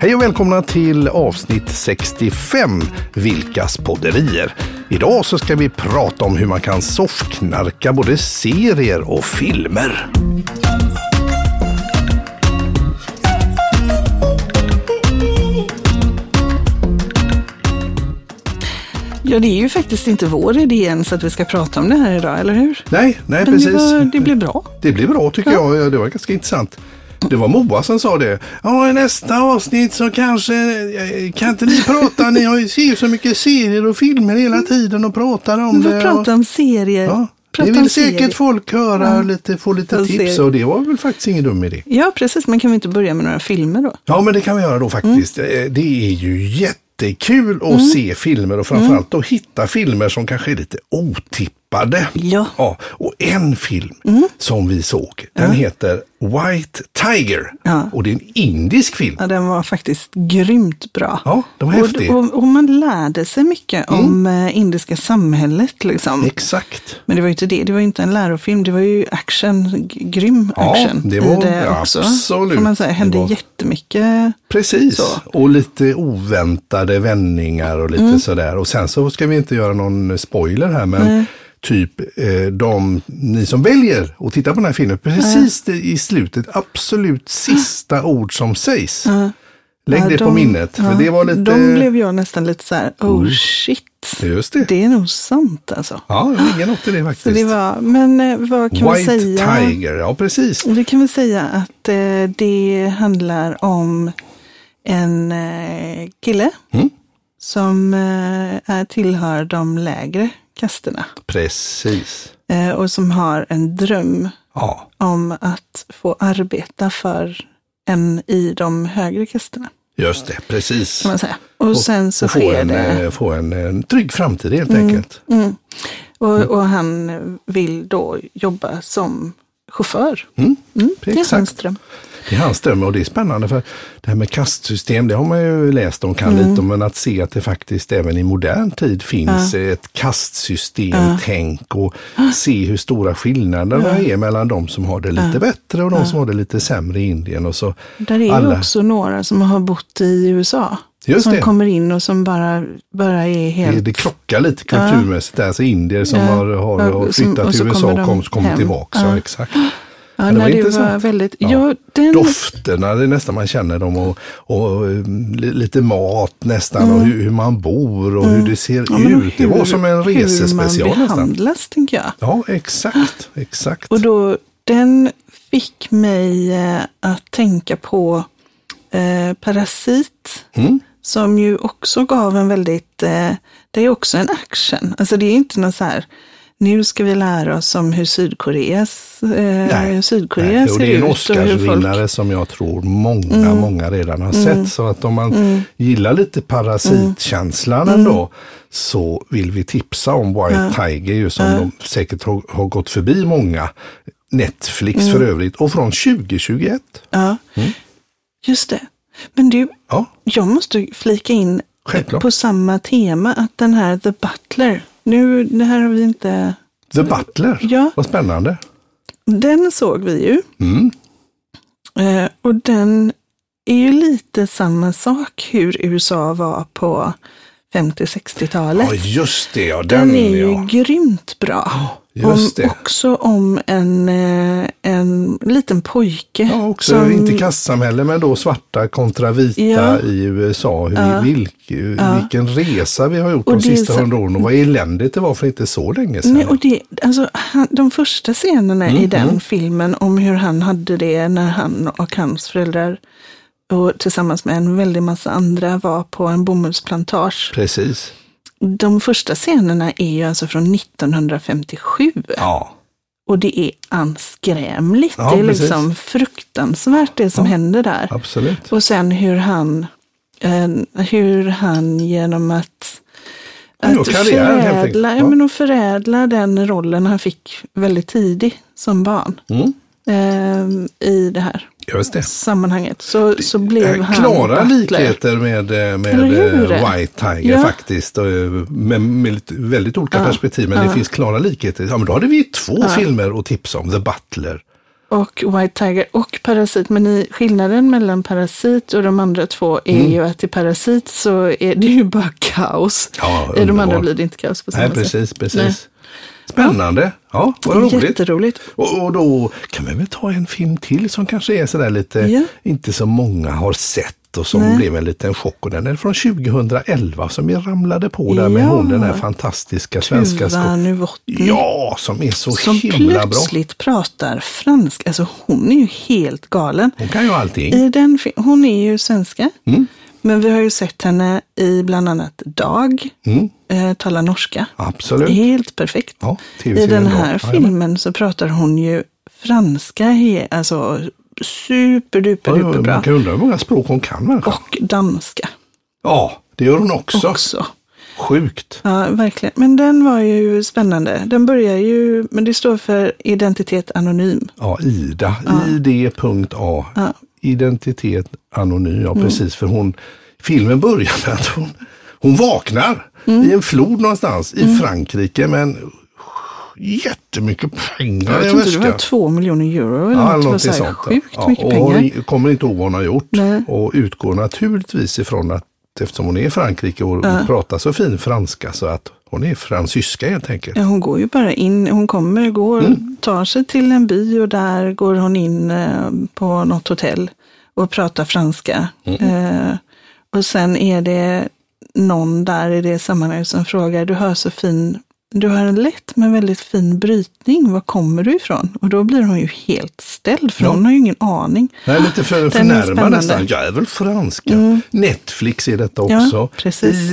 Hej och välkomna till avsnitt 65, Vilkas podderier. Idag så ska vi prata om hur man kan soffknarka både serier och filmer. Ja, det är ju faktiskt inte vår idé ens att vi ska prata om det här idag, eller hur? Nej, nej Men precis. Det, var, det blev bra. Det blir bra tycker Ja. jag. Det var ganska intressant. Det var Moa som sa det. Ja, i nästa avsnitt så kanske, eh, kan inte ni prata? Ni har ju ser ju så mycket serier och filmer hela Mm. tiden och pratar om Vi får det. prata om serier. Ja. Prata det om vill säkert serier. folk höra, lite, få lite Jag tips ser. och det var väl faktiskt ingen dum idé. Ja, precis. Men kan vi inte börja med några filmer då? Ja, men det kan vi göra då faktiskt. Mm. Eh, Det är ju jättekul att se filmer och framförallt Mm. att hitta filmer som kanske är lite otippade. Ja. Mm. Ja, och en film som vi såg, den heter White Tiger. Ja. Och det är en indisk film. Ja, den var faktiskt grymt bra. Ja, den var häftig. Mm. och, och, och man lärde sig mycket om eh, indiska samhället liksom. Exakt. Men det var ju inte det, det var ju inte en lärofilm, det var ju action, g- grym Ja, action. det i var- det också. absolut. Får man säga, Det hände var- jättemycket. Precis, Så. Mm. och lite oväntade vändningar och lite sådär. Och sen så ska vi inte göra någon spoiler här, men typ eh, de, ni som väljer att titta på den här filmen, precis det i slutet, absolut sista ord som sägs. Lägg Ja, det på de- minnet, ja, för det var lite... Mm. De blev jag nästan lite så här, oh shit. Just det. Det är nog sant alltså. Ja, det ligger något i det Så faktiskt. det var, men eh, vad kan vi White säga? Tiger, ja precis. Vi kan väl säga att eh, det handlar om en eh, kille Mm. som eh, är, tillhör de lägre kasterna Precis. eh, och som har en dröm Ja, om att få arbeta för en i de högre kasterna. just det, precis. Kan man säga. Och, sen så och få, sker en, det. Mm. eh, få en, en trygg framtid helt enkelt. Och, Mm. och han vill då jobba som chaufför. Mm, det är hans exakt. dröm. Det är hans dröm och det är spännande för det här med kastsystem, det har man ju läst om, kan Mm. lite om, men att se att det faktiskt även i modern tid finns ett kastsystemtänk och se hur stora skillnaderna är mellan de som har det lite bättre och de som har det lite sämre i Indien och så Där är ju alla. också några som har bott i USA. Just som det. kommer in och som bara, bara är Det, helt... det krockar lite kulturmässigt, alltså indier som Ja. har, har, har Ja, som- flyttat och till så USA kommer och de kom, kom hem. tillbaka. Ja. Ja. Exakt. ja, det var när det var intressant. väldigt... Ja. Ja, den, dofterna, det är nästan man känner dem och, och eh, li- lite mat nästan och hur, hur man bor och hur det ser Mm. ja, men och ut. Det var som en resespecial Hur man nästan. behandlas, tänker jag. Ja, exakt, exakt. Och då, den fick mig eh, att tänka på eh, Parasit. Mm. Som ju också gav en väldigt, eh, det är också en action. Alltså det är inte någon så här, nu ska vi lära oss om hur Sydkoreas, eh, hur Sydkorea nej, ser och det är en ut och hur folk Mm. Oscarsvinnare som jag tror många, många redan har sett. Så att om man gillar lite parasitkänslan Mm. ändå så vill vi tipsa om White Tiger ju som de säkert har, har gått förbi många. Netflix för Mm. övrigt och från 2021. Ja, Mm. just det. Men du, Ja, jag måste flika in Självklart. på samma tema, att den här The Butler, nu, det här har vi inte, The Butler, Ja. vad spännande. den såg vi ju. Mm. Eh, och den är ju lite samma sak hur USA var på 50-60-talet. Ja, just det. Ja, den, Den är ju ja. grymt bra. Om, just det. också om en, eh, en liten pojke. ja, också inte kastsamhälle, men då svarta kontra vita Ja. i USA. Hur, vilk, Vilken resa vi har gjort Och de det är sista så- hundra åren och vad eländigt det var för inte så länge sedan. Nej, och det, alltså, han, de första scenerna Mm, i den filmen om hur han hade det när han och hans föräldrar och tillsammans med en väldig massa andra var på en bomullsplantage. Precis. De första scenerna är ju alltså från 1957. Ja. Och det är anskrämligt. Ja, det är precis. liksom fruktansvärt det som händer där. Absolut. Och sen hur han, eh, hur han genom att, Han gör karriär, helt enkelt. förädla, ja, Ja. men att förädla den rollen han fick väldigt tidig som barn Mm. eh, i det här Just det. Äh, sammanhanget. Så, så blev han Klara butler. likheter med, eh, med Eller hur? eh, White Tiger Ja. faktiskt. och, eh, Med, med lite- väldigt olika perspektiv, men det finns klara likheter. Ja, men då hade vi ju två filmer att tipsa om. The Butler och White Tiger och Parasit. Men i, skillnaden mellan Parasit och de andra två är Mm. ju att i Parasit så är det ju bara kaos. Ja, I de underbart. andra blir det inte kaos på samma Nej, precis, sätt. precis. Spännande. Ja, vad Nej. roligt. Jätteroligt. Och, och då kan vi väl ta en film till som kanske är sådär lite, Ja. inte så många har sett och som Nej. blev en liten chock. Och den är från 2011 som jag ramlade på där med Ja. hon, den här fantastiska svenska Tuva skådespelaren. Nuvotny. Ja, som är så som himla bra. plötsligt pratar franska. Alltså hon är ju helt galen. Hon kan ju allting. I den, fi- hon är ju svenska. Mm. Men vi har ju sett henne i bland annat Dag eh, tala norska. Mm. Absolut. Helt perfekt. Ja, I TV-serien den Dag. här Jajamän. filmen så pratar hon ju franska. he- Alltså superduper Ja, ja, Man bra. kan undra hur många språk hon kan människa. Och danska Ja, det gör hon också. också. Sjukt. Ja, verkligen. Men den var ju spännande. Den börjar ju, men det står för identitet anonym. Ja, Ida. ID.A. Identitet anonym. Mm. Ja, precis. För hon, filmen börjar med att hon, hon vaknar Mm. i en flod någonstans i Frankrike. Men jättemycket pengar Jag i tror inte det väskan. var två miljoner euro eller Ja, något. Det var någonting så här sånt. sjukt ja, mycket och pengar. Hon kommer inte ihåg vad hon har gjort Nej. och utgår naturligtvis ifrån att eftersom hon är i Frankrike och pratar så fin franska så att hon är fransyska helt enkelt. Ja, hon går ju bara in, hon kommer, går, Mm. tar sig till en by och där går hon in eh, på något hotell och pratar franska. Mm. Eh, och sen är det någon där i det sammanhanget som frågar, du har så fin, du har en lätt men väldigt fin brytning, var kommer du ifrån? Och då blir hon ju helt ställd, för hon har ju ingen aning. Nej, lite för, Den är förnärmad spännande. Mm. nästan. Jag är väl franska. Netflix är detta Ja, också. precis.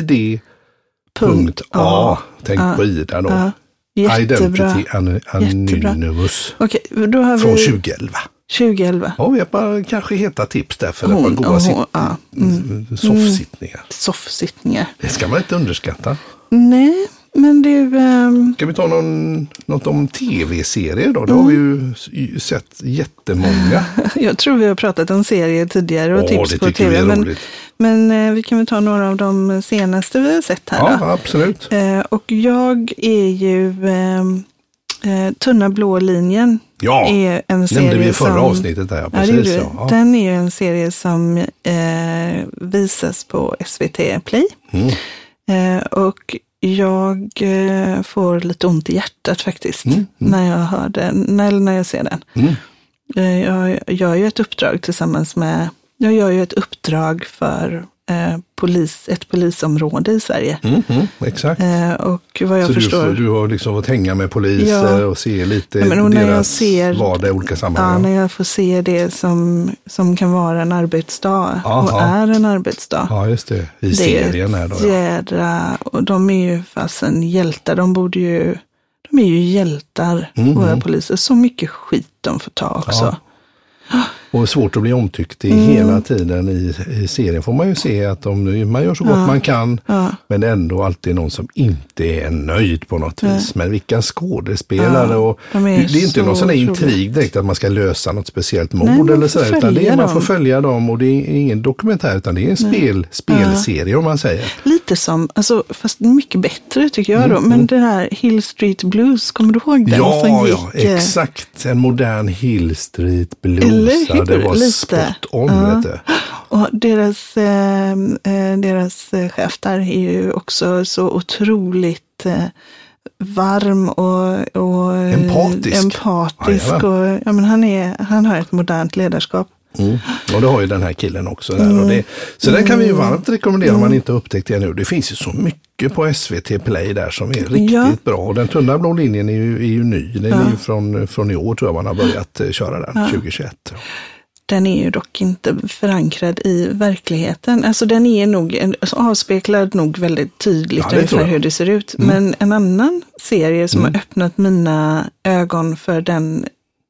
Punkt ID.A. Tänk på Ida då. Ja, Jättebra. Identity An- Jättebra. Anonymous Okej, då har från vi 2011. 2011. Ja, vi har bara kanske heta tips där för Hon- ett par goda hon- mm. sitt- ja, soffsittningar. Soffsittningar. Det ska man inte underskatta. Nej, men du, ehm, Ska vi ta någon, något om tv-serier då? Det har vi ju Mm. s- ju sett jättemånga. jag tror vi har pratat om serier tidigare och Åh, tips det på tycker vi är tv. Men, roligt. men eh, vi kan väl ta några av de senaste vi har sett här. Ja, då. absolut. Eh, och jag är ju ehm, eh, Tunna blå linjen. Ja, är en serie nämnde vi i förra Eh, som, avsnittet där. Ja, Ja, det precis, gjorde vi. ja. Ja. Den är ju en serie som eh, visas på SVT Play. Mm. Eh, och jag eh, får lite ont i hjärtat faktiskt Mm, när jag hör den, när, när jag ser den. Eh, jag gör ju ett uppdrag tillsammans med, jag gör ju ett uppdrag för eh, polis, ett polisområde i Sverige. Mm, mm, exakt. Eh, och vad jag Så du, förstår får, du har liksom fått hänga med poliser Ja. och se lite Ja, men och när jag deras ser- vardag i olika Ja, sammanhang. när jag får se det som, som kan vara en arbetsdag och Aha. är en arbetsdag. Ja, just det. I det är serien här då. ett Ja. jädra, och de är ju fasen hjältar. De borde ju, de är ju hjältar, våra poliser. Så mycket skit de får ta också. Mm. Ja. Och svårt att bli omtyckt i Mm. hela tiden i, i serien. Får man ju se att de, man gör så gott man kan. Men det är ändå alltid någon som inte är nöjd på något vis. Men vilka skådespelare. Ja, och, de är det det är inte så någon sån här otroligt. intrig direkt att man ska lösa något speciellt Nej, mord man eller får sådär. Utan det följa är, man får dem. följa dem och det är ingen dokumentär utan det är en spel, spelserie om man säger. Lite som, alltså, fast mycket bättre tycker jag då. Men den här Hill Street Blues, kommer du ihåg den? Mm, Ja, som ja, gick, eh, exakt. En modern Hill Street Eller blues. Ja, det hur? var Lite. spot on. Ja. Vet du. Och deras, eh, eh, deras eh, chef där är ju också så otroligt eh, varm och, och eh, Empatisk. empatisk Jajamän. och, ja, men han, är, han har ett modernt ledarskap. Mm. Och det har ju den här killen också. Där. Mm. Och det, så den kan vi ju varmt rekommendera om man inte har upptäckt det nu. Det finns ju så mycket på SVT Play där som är riktigt Ja. bra. Och den tunna blå linjen är ju, är ju ny. Den är ju från, från i år tror jag man har börjat eh, köra den, 2021. Den är ju dock inte förankrad i verkligheten. Alltså den är nog, en- alltså, avspeglad nog väldigt tydligt Ja, det tror ungefär jag. Mm. hur det ser ut. Men en annan serie som har öppnat mina ögon för den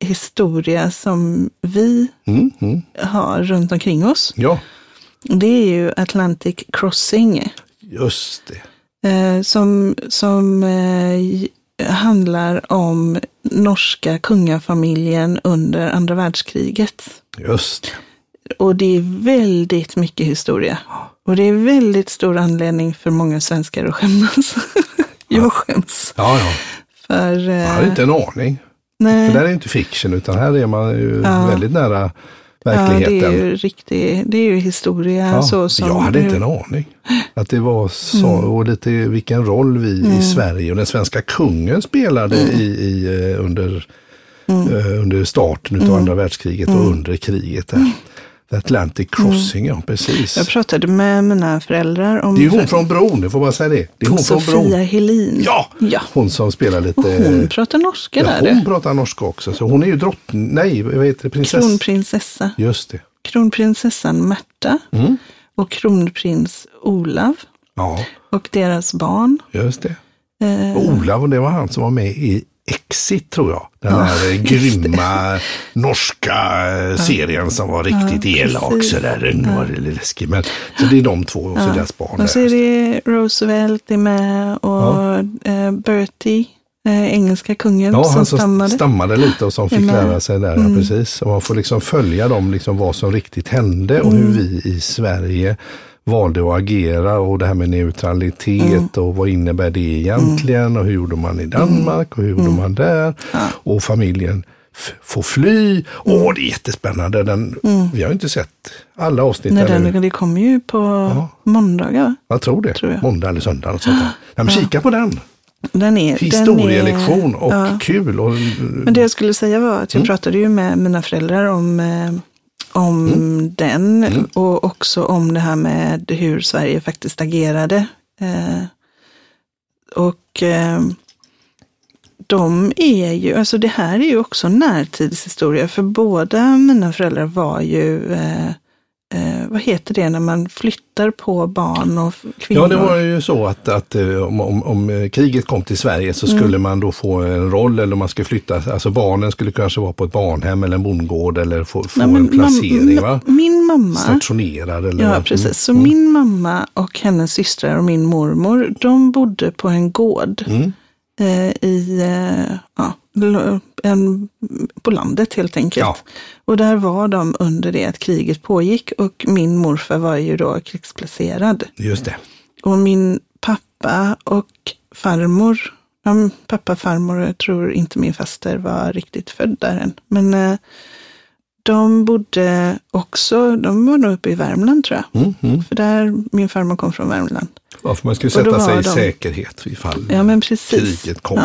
historia som vi Mm, mm. har runt omkring oss. Ja, Det är ju Atlantic Crossing just det. eh, som, som eh, j- handlar om norska kungafamiljen under andra världskriget. Just det. Och det är väldigt mycket historia. Och det är väldigt stor anledning för många svenskar att skämmas. Jag skäms Ja, ja. för... Jag hade Eh, inte en aning. Nej. För där är ju inte fiction utan här är man ju Ja. väldigt nära Ja, verkligheten. det är ju riktig, det är ju historia Ja, så som Mm. jag hade nu- inte en aning. Att det var så, och lite vilken roll vi Mm. i Sverige och den svenska kungen spelade i, i, eh, under, Mm. eh, under starten av andra världskriget och under kriget. Där. The Atlantic Crossing, ja precis. Mm. Jag pratade med mina föräldrar om Det är ju hon från Bron, du får bara säga det. Det är hon Sofia från Bron. Helin. Ja! ja. Hon som spelar lite... Och hon pratar norska ja, där hon du. pratar norska också, så hon är ju drottning, nej vad heter det, prinsess? Kronprinsessa. Just det. Kronprinsessan Märta Mm. och kronprins Olav Ja, och deras barn. just det. Eh, Och Olav, och det var han som var med i Exit tror jag. Den här eh, grymma norska eh, serien som var riktigt elak. precis. Sådär. Den var lite läskig. Men, så det är de två och så deras barn. och så där. är det Roosevelt är med och eh, Bertie, eh, engelska kungen Ja, som han som stammade. stammade. stammade lite och som fick Amen. lära sig där, Mm. ja, precis. Och man får liksom följa dem, liksom vad som riktigt hände och Mm. hur vi i Sverige valde att agera och det här med neutralitet Mm. och vad innebär det egentligen och hur gjorde man i Danmark och hur Mm. gjorde man där och familjen f- får fly. Mm. Åh, det är jättespännande. Den, Vi har ju inte sett alla avsnitt Nej, ännu. Mm. den, det kommer ju på måndagar. va? Jag tror det. tror jag. Måndag eller söndag. Något sånt där. Ja, men kika på den. Den är, den är, Historielektion och kul. Och, Men det jag skulle säga var att jag Mm. pratade ju med mina föräldrar om, eh, om Mm. den och också om det här med hur Sverige faktiskt agerade. Eh, och eh, de är ju, alltså det här är ju också närtidshistoria för båda mina föräldrar var ju eh, eh, vad heter det när man flyttar på barn och f- kvinnor? Ja, det var ju så att, att eh, om, om, om eh, kriget kom till Sverige så skulle Mm. man då få en roll eller man skulle flytta, alltså barnen skulle kanske vara på ett barnhem eller en bondgård eller få, få Nej, men en placering. mam- va? Min mamma. Stationerad eller Ja, vad? precis. Så min mamma och hennes systrar och min mormor, de bodde på en gård eh, i, eh, ja, l- en, på landet helt enkelt. Ja. Och där var de under det att kriget pågick och min morfar var ju då krigsplacerad. Mm, Just det. Och min pappa och farmor, ja, min pappa, farmor, jag tror inte min faster var riktigt född där än. Men eh, de bodde också, de var nog uppe i Värmland tror jag. För där, min farmor kom från Värmland. Mm, Ja, för man skulle Och då sätta sig i var de- säkerhet ifall Ja men precis. kriget kom.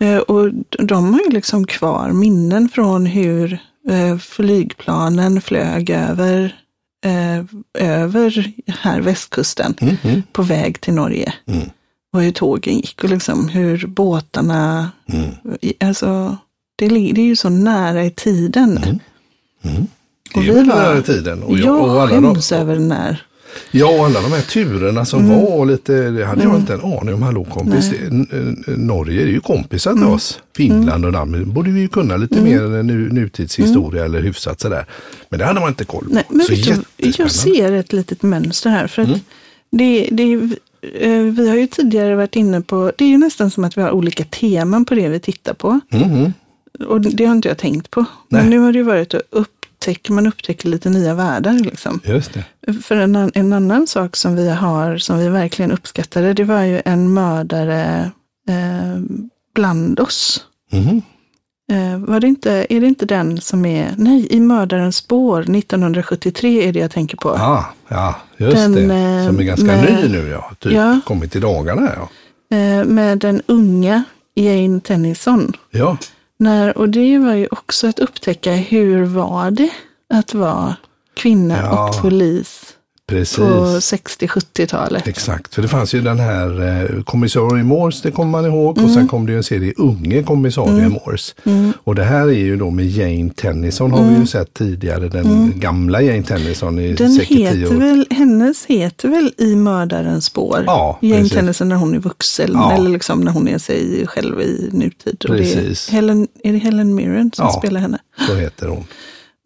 Ja. Eh, Och d- de har ju liksom kvar minnen från hur eh, flygplanen flög över, eh, över här västkusten Mhm. på väg till Norge. Mm. Och hur tågen gick och liksom hur båtarna, Mm. i- alltså det, li- det är ju så nära i tiden. Det är Och ju vi den var- här tiden. Mm. Och jag, jag och alla de, skäms över den här. ja, och alla de här turerna som Mm. var och lite, det hade jag inte en aning om. Hallå kompis, det, N- N- Norge är ju kompisar Mm. till oss. Finland och Danmark borde vi ju kunna lite mer eh, nu, nutidshistoria eller hyfsat sådär. Men det hade man inte koll på. Mm. Nej, men Så vet du, jag jättespännande. Mm. ser ett litet mönster här. För att det, det, är- eh, vi har ju tidigare varit inne på, det är ju nästan som att vi har olika teman på det vi tittar på. Mm-hmm. Och det har inte jag tänkt på. Men Nej. nu har det ju varit att upptäcka, man upptäcker lite nya världar. Liksom. Just det. För en, an- en annan sak som vi har, som vi verkligen uppskattade, det var ju en mördare eh, bland oss. Mhm. Eh, var det inte, är det inte den som är, nej, I mördarens spår 1973 är det jag tänker på. Ah, ja, just Den, det. Som är eh, ganska med- ny nu ja. Typ Ja. kommit i dagarna ja. Eh, med den unga Jane Tennyson. Ja, När, och det var ju också att upptäcka hur var det att vara kvinna Ja, och polis precis. på 60-70-talet. Exakt, för det fanns ju den här eh, kommissarie Morse, det kommer man ihåg. Och Mm. sen kom det ju en serie Unge kommissarie Morse. Och det här är ju då med Jane Tennison, har vi ju sett tidigare. Den gamla Jane Tennison i Mm. Den säkert tio heter år. väl, hennes heter väl I mördarens spår? Ja, Jane precis. Tennyson när hon är vuxen Ja. eller liksom när hon är sig själv i nutid. Och det Precis. är, Helen, är det Helen Mirren som Ja. spelar henne? Så heter hon.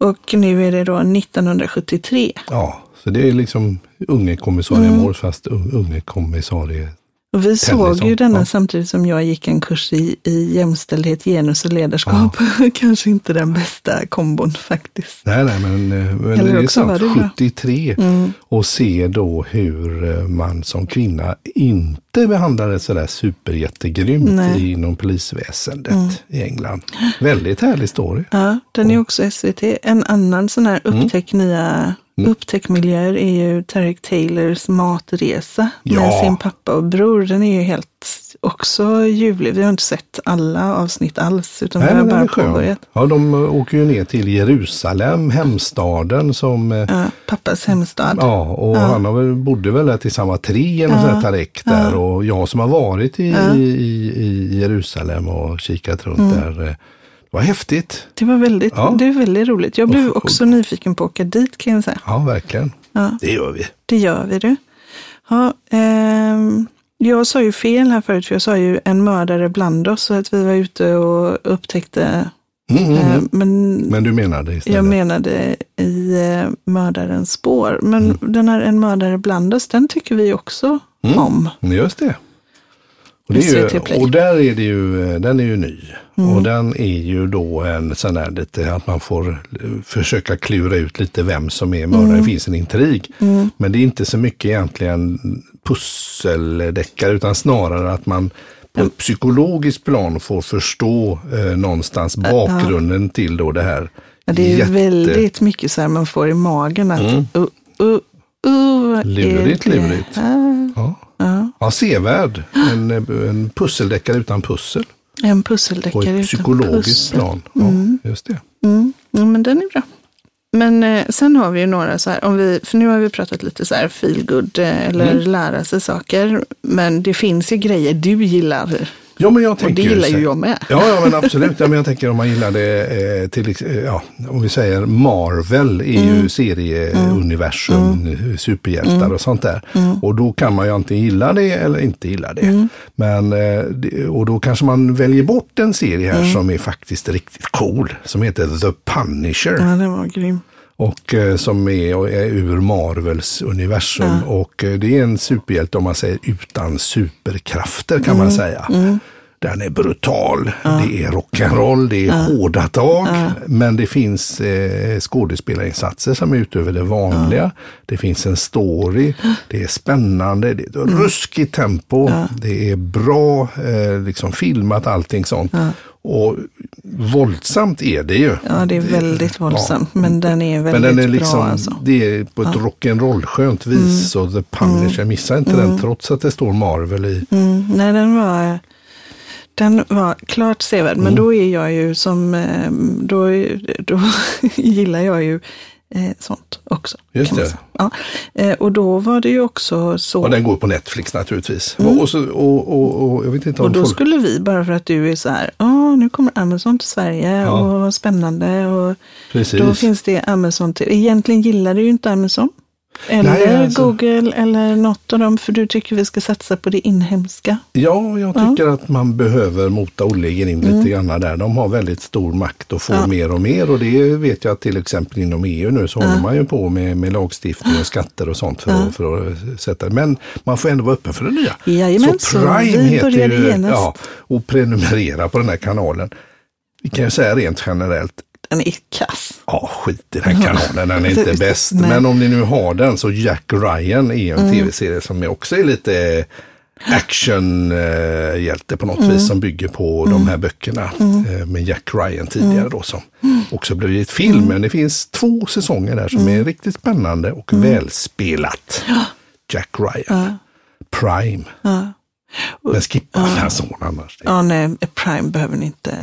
Och nu är det då 1973. Ja, så det är liksom Unge kommissarie Mm. Morse fast un- Unge kommissarie. Och vi Tennyson, såg ju denna ja. samtidigt som jag gick en kurs i, i jämställdhet, genus och ledarskap. Kanske inte den bästa kombon faktiskt. Nej, nej, men, eh, men Eller det är också Mm. var sant. det bra. 73 och se då hur eh, man som kvinna inte inte behandlade sådär superjättegrymt Nej. Mm. inom polisväsendet i England. Väldigt härlig story. Ja, den är också SVT. En annan sån här Mm. upptäck nya upptäckmiljöer är ju Tarek Taylors matresa Ja. med sin pappa och bror. Den är ju helt också ljuvlig. Vi har inte sett alla avsnitt alls, utan vi Nej, har men den är bara skön. påbörjat. Ja, de eh, åker ju ner till Jerusalem, hemstaden som eh, Ja, pappas hemstad. Ja, och han har väl, bodde väl där tills han var tre, eller ja. Tarek där. Och jag som har varit i, i, i Jerusalem och kikat Mm. runt där. eh, Det var häftigt. Det var väldigt, Ja. det är väldigt roligt. Jag blev Och- och- också nyfiken på att åka dit kan jag säga. Ja, verkligen. Ja. Det gör vi. Det gör vi du. Ja, ehm, jag sa ju fel här förut, för jag sa ju en mördare bland oss, så att vi var ute och upptäckte, Mm, mm, eh, mm. men Men du menade istället? jag menade i eh, mördarens spår. Men Mm. den här En mördare bland oss, den tycker vi också om. Mm, Just det. Och, det är SVT ju, Play. och där är det ju, eh, den är ju ny. Mm. Och den är ju då en sån här lite att man får eh, försöka klura ut lite vem som är mördaren. Mm. Det finns en intrig. Men det är inte så mycket egentligen pusseldeckare utan snarare att man på ett psykologiskt plan får förstå eh, någonstans bakgrunden till då det här. Ja, Det är jätte- Mm. väldigt mycket så här man får i magen att uh, uh, uh, är Lurigt, det lurigt. här? Ja. Ja, sevärd. En, eh, en pusseldeckare utan pussel. En På pusseldeckare ett utan psykologiskt pussel. plan. Ja, just det. Mm. Ja, men den är bra. Men eh, sen har vi ju några så här, om vi, för nu har vi pratat lite så här feel good, eh, eller Mm. lära sig saker. Men det finns ju grejer du gillar Ja, men jag tänker och det gillar så- ju jag med. Ja, ja, men absolut. Ja, men jag tänker om man gillar det eh, till, ex- eh, ja, om vi säger Marvel är Mm. ju serieuniversum, superhjältar och sånt där. Mm. Och då kan man ju antingen gilla det eller inte gilla det. Men, eh, det- och då kanske man väljer bort en serie Mm. här som är faktiskt riktigt cool, som heter The Punisher. Ja, den var grym. Och eh, som är, och är ur Marvels universum. Och eh, det är en superhjälte om man säger utan superkrafter kan man säga. Den är brutal, det är rock'n'roll, det är hårda tag. Men det finns eh, skådespelarinsatser som är utöver det vanliga. Det finns en story, det är spännande, det är ett ruskigt tempo. Det är bra eh, liksom filmat, allting sånt. Och våldsamt är det ju. Ja, det är väldigt våldsamt, men den är väldigt Men den är liksom, bra alltså. Mm. det är på ett rock'n'roll skönt vis. Så The Punisher, missa inte den trots att det står Marvel i. Mm, nej, den var, den var klart sevärd. Mm. Men då är jag ju som, eh, då, då gillar jag ju eh, sånt också. Just kan man det. säga. Ja. Eh, och då var det ju också så. Och den går på Netflix naturligtvis. Och, så, och, och, och jag vet inte om Mm. Och då folk... skulle vi, bara för att du är så här, "Åh, nu kommer Amazon till Sverige Ja. och vad spännande. Och Precis. då finns det Amazon till. Egentligen gillar du ju inte Amazon. Eller Nej, alltså. Google eller något av dem, för du tycker vi ska satsa på det inhemska. Ja, jag tycker att man behöver mota Olle in Mm. lite grann där. De har väldigt stor makt och får mer och mer. Och det vet jag att till exempel inom EU nu så håller man ju på med, med lagstiftning och skatter och sånt för, att, för att sätta. Men man får ändå vara öppen för det nya. Jajamän, så vi började genast. ja, och prenumerera på den här kanalen. Vi kan ju säga rent generellt, Den är kass. ja skit i den kanalen, den är inte Precis, bäst. nej. Men om ni nu har den så Jack Ryan är ju en tv-serie som är också är lite actionhjälte på något vis som bygger på de här böckerna eh, med Jack Ryan tidigare då som också blivit film. Men det finns två säsonger där som är riktigt spännande och välspelat. Jack Ryan, Prime. Men skippa den son annars. Ja, nej, Prime behöver ni inte.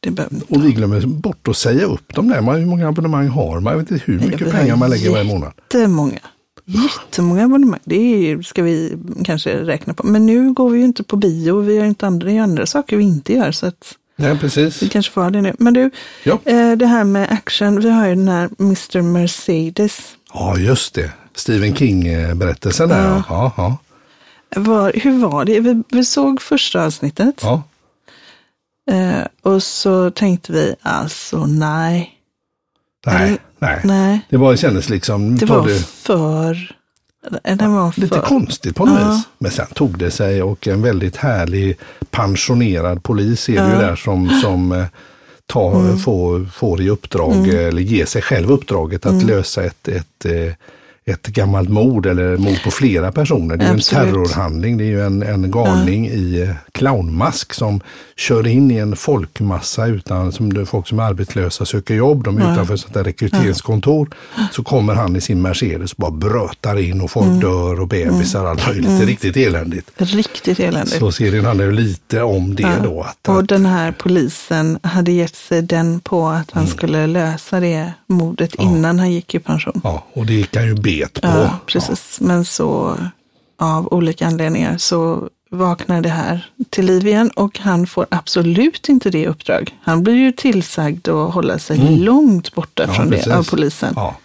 Det behöver ni inte. Och vi glömmer bort att säga upp dem där. Man, hur många abonnemang har man? Jag vet inte hur Nej, mycket vi har pengar man lägger varje månad. Jättemånga. Jättemånga abonnemang. Det är, ju- ska vi kanske räkna på. Men nu går vi ju inte på bio. Vi gör inte andra, det är andra saker vi inte gör. Så att Nej, precis. vi kanske får ha det nu. Men du, Ja. eh, det här med action. Vi har ju den här Mr. Mercedes. Ja, just det. Stephen King-berättelsen där. Ja. Ja, ja, Var, hur var det? Vi, vi såg första avsnittet. ja. Eh, och så tänkte vi alltså nej. Nej, Eller- nej. Nej. Det var, kändes liksom... Det var för... eh, Den var för... Lite konstigt på något Ja. vis. Men sen tog det sig och en väldigt härlig pensionerad polis är det ju där som, som eh, tar, Mm. Mm. får, får i uppdrag, eller ger sig själv uppdraget att lösa ett, ett, eh, ett gammalt mord eller mord på flera personer. Det är ju en Absolut. terrorhandling. Det är ju en, en galning i eh, clownmask som kör in i en folkmassa utan, som det är folk som är arbetslösa söker jobb. De är utanför sånt där rekryteringskontor. Så kommer han i sin Mercedes och bara brötar in och folk Mm. dör och bebisar och allt möjligt. Det är riktigt eländigt. Riktigt eländigt. Så serien handlar ju lite om det då. Att, Mm. Och att, den här polisen hade gett sig den på att han Mm. skulle lösa det mordet innan han gick i pension. ja, och det gick han ju bet på. Ja, precis. Men så av olika anledningar så vaknar det här till liv igen och han får absolut inte det uppdrag. Han blir ju tillsagd att hålla sig långt borta Mm. Ja, från precis. det av polisen. Ja.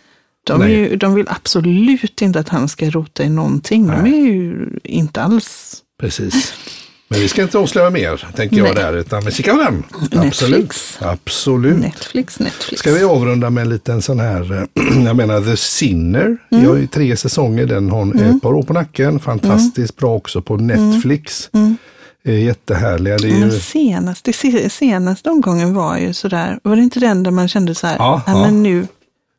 De, är nej. ju, de vill absolut inte att han ska rota i någonting. De är ju inte alls Precis. Men vi ska inte avslöja mer, tänker jag Nej. där, utan vi kikar den. Netflix. Absolut. Absolut. Netflix, Netflix. Ska vi avrunda med en liten sån här, eh, jag menar The Sinner. Vi Mm. har ju tre säsonger, den har mm. ett par år på nacken. Fantastiskt Mm. bra också på Netflix. Eh, Jättehärliga. Det är ju, Men senaste, se- senaste omgången var ju sådär, var det inte den där man kände så här, Ja, "Nej, ja. men nu,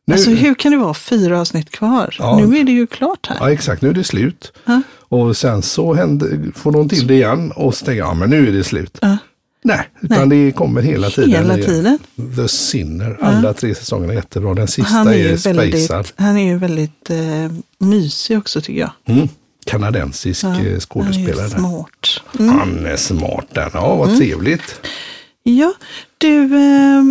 Nu- alltså hur kan det vara fyra avsnitt kvar? Ja. Nu är det ju klart här. Ja, exakt. Nu är det slut. Och sen så händer, får de till det igen och så tänker jag, ja men nu är det slut. Nej, utan det kommer hela tiden. Hela igen. tiden. The Sinner. Alla tre säsongerna är jättebra. Den sista Han är, är, ju väldigt, spejsad. han är ju väldigt eh, mysig också tycker jag. Mm. Kanadensisk eh, skådespelare. Han är ju mm. smart. Han är smart den. Ja, vad trevligt. Ja, du, eh,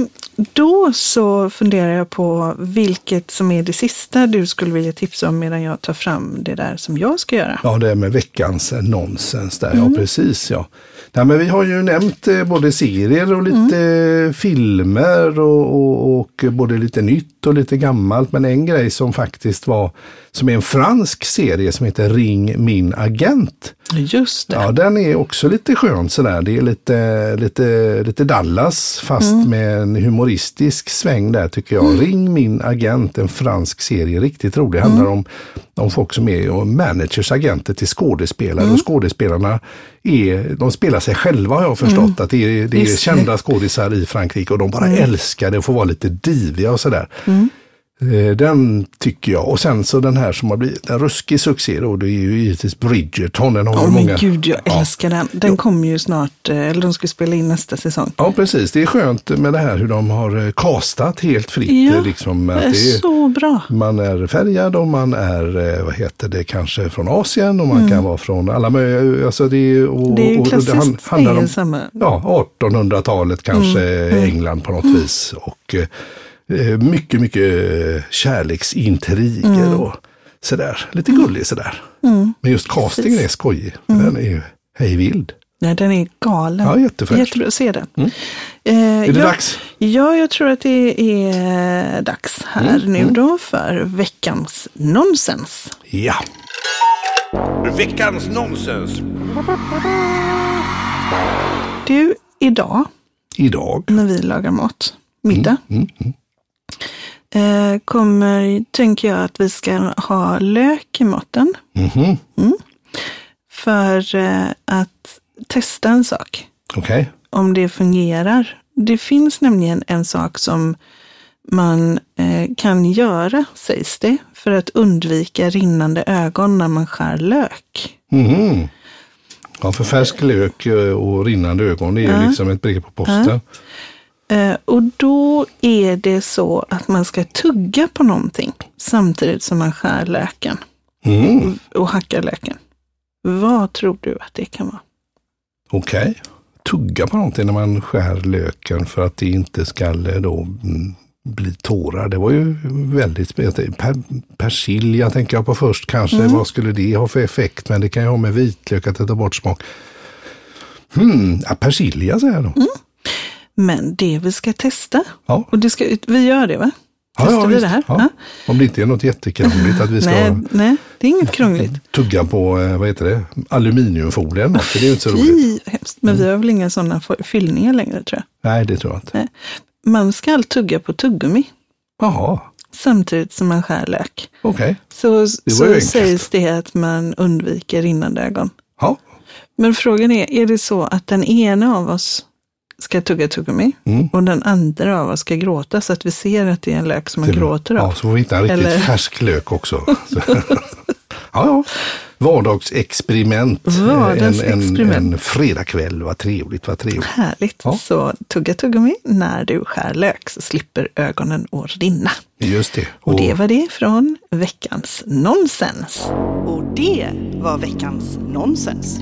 då så funderar jag på vilket som är det sista du skulle vilja tipsa om medan jag tar fram det där som jag ska göra. Ja, det är med veckans nonsens där. Ja, precis. Ja. Nej, men vi har ju nämnt eh, både serier och lite eh, filmer och, och, och både lite nytt och lite gammalt. Men en grej som faktiskt var, som är en fransk serie som heter Ring min agent. Just det. Ja, den är också lite skön sådär. Det är lite, lite, lite Dallas fast Mm. med en humoristisk sväng där tycker jag. Ring min agent, en fransk serie, riktigt rolig. Det Mm. handlar om, om folk som är och managers, agenter till skådespelare Mm. och skådespelarna är, de spelar sig själva har jag förstått. Att det är, det är Mm. Just det. Mm. kända skådisar i Frankrike och de bara älskar det och får vara lite diviga och sådär. Eh, Den tycker jag. Och sen så den här som har blivit en ruskig succé då, det är ju givetvis Bridgerton. Den har Åh ju många... men gud, jag älskar den. Den kommer ju snart, eh, eller de ska spela in nästa säsong. Ja, precis. Det är skönt med det här hur de har eh, castat helt fritt. Ja, eh, liksom, att det är det är, så bra. man är färgad och man är, eh, vad heter det, kanske från Asien och man kan vara från alla möjliga, alltså det är, och, Mm. Det är ju och- och klassiskt, han- det är ju samma. ja, 1800-talet kanske, England på något vis. Och eh, mycket, mycket eh, kärleksintriger och sådär, lite gullig sådär. Men just castingen är skojig, den är ju hejvild. Nej, den är galen. Ja, jättefräsch. Jättebra, se den. Eh, Är det dags? Ja, jag tror att det är eh, dags här Mm, nu då för veckans nonsens. Ja. Veckans nonsens. Du, idag Idag när vi lagar mat, middag, Mm, eh, kommer, tänker jag att vi ska ha lök i maten. Mm-hmm. Mm. För eh, att testa en sak. Okej. om det fungerar. Det finns nämligen en sak som man eh, kan göra, sägs det, för att undvika rinnande ögon när man skär lök. Mhm. Ja, för färsk lök eh, och rinnande ögon det är ju liksom ett brev på posten. Eh, och då är det så att man ska tugga på någonting samtidigt som man skär löken Mm. och hackar löken. Vad tror du att det kan vara? Okej. Tugga på någonting när man skär löken för att det inte ska eh, då mm, bli tårar. Det var ju väldigt spännande. Per, persilja tänker jag på först kanske. Mm. Vad skulle det ha för effekt? Men det kan ju ha med vitlök att det tar bort smak. Hmm, ja, persilja säger jag då. Mm. Men det vi ska testa, Ja. och det ska, vi gör det va? Ja, ja, Testar vi visst. det här? Ja. Om det inte är något jättekrångligt att vi ska Nej, nej, det är inget krångligt. tugga på, eh, vad heter det, aluminiumfolie eller något, för det är ju inte så roligt. Mm. Fy, hemskt. Men vi har väl inga sådana fyllningar längre tror jag. Nej, det tror jag inte. Nej. Man ska allt tugga på tuggummi Jaha, samtidigt som man skär lök. okej. Så, ju så enkelt. sägs det att man undviker rinnande ögon. Ja, Men frågan är, är det så att den ena av oss ska tugga tuggummi Mm. och den andra av oss ska gråta så att vi ser att det är en lök som man gråter av. Ja, så får vi hitta en riktigt Eller- färsk lök också. Så- ja, ja. Vardagsexperiment. Vardagsexperiment. En, en, en fredagkväll, vad trevligt, vad trevligt. Härligt. Ja. Så tugga tuggummi när du skär lök så slipper ögonen att rinna. Just det. Och det var det från veckans nonsens. Och det var veckans nonsens.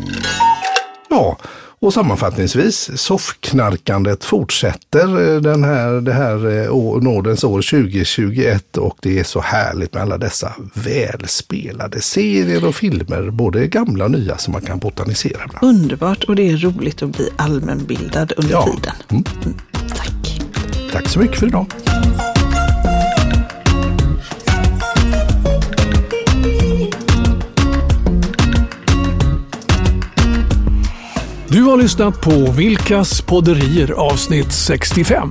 Ja, och sammanfattningsvis, soffknarkandet fortsätter eh, den här, det här eh, å- nådens år 2021 och det är så härligt med alla dessa välspelade serier och filmer, både gamla och nya, som man kan botanisera bland. Underbart och det är roligt att bli allmänbildad under Ja. tiden. Mm. Mm, Tack. Tack så mycket för idag. Du har lyssnat på Vilkas podderier avsnitt 65.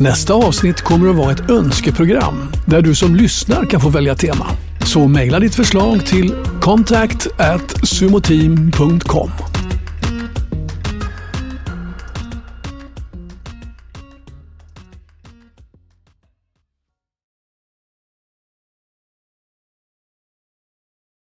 Nästa avsnitt kommer att vara ett önskeprogram där du som lyssnar kan få välja tema. Så mejla ditt förslag till contact at sumoteam.com.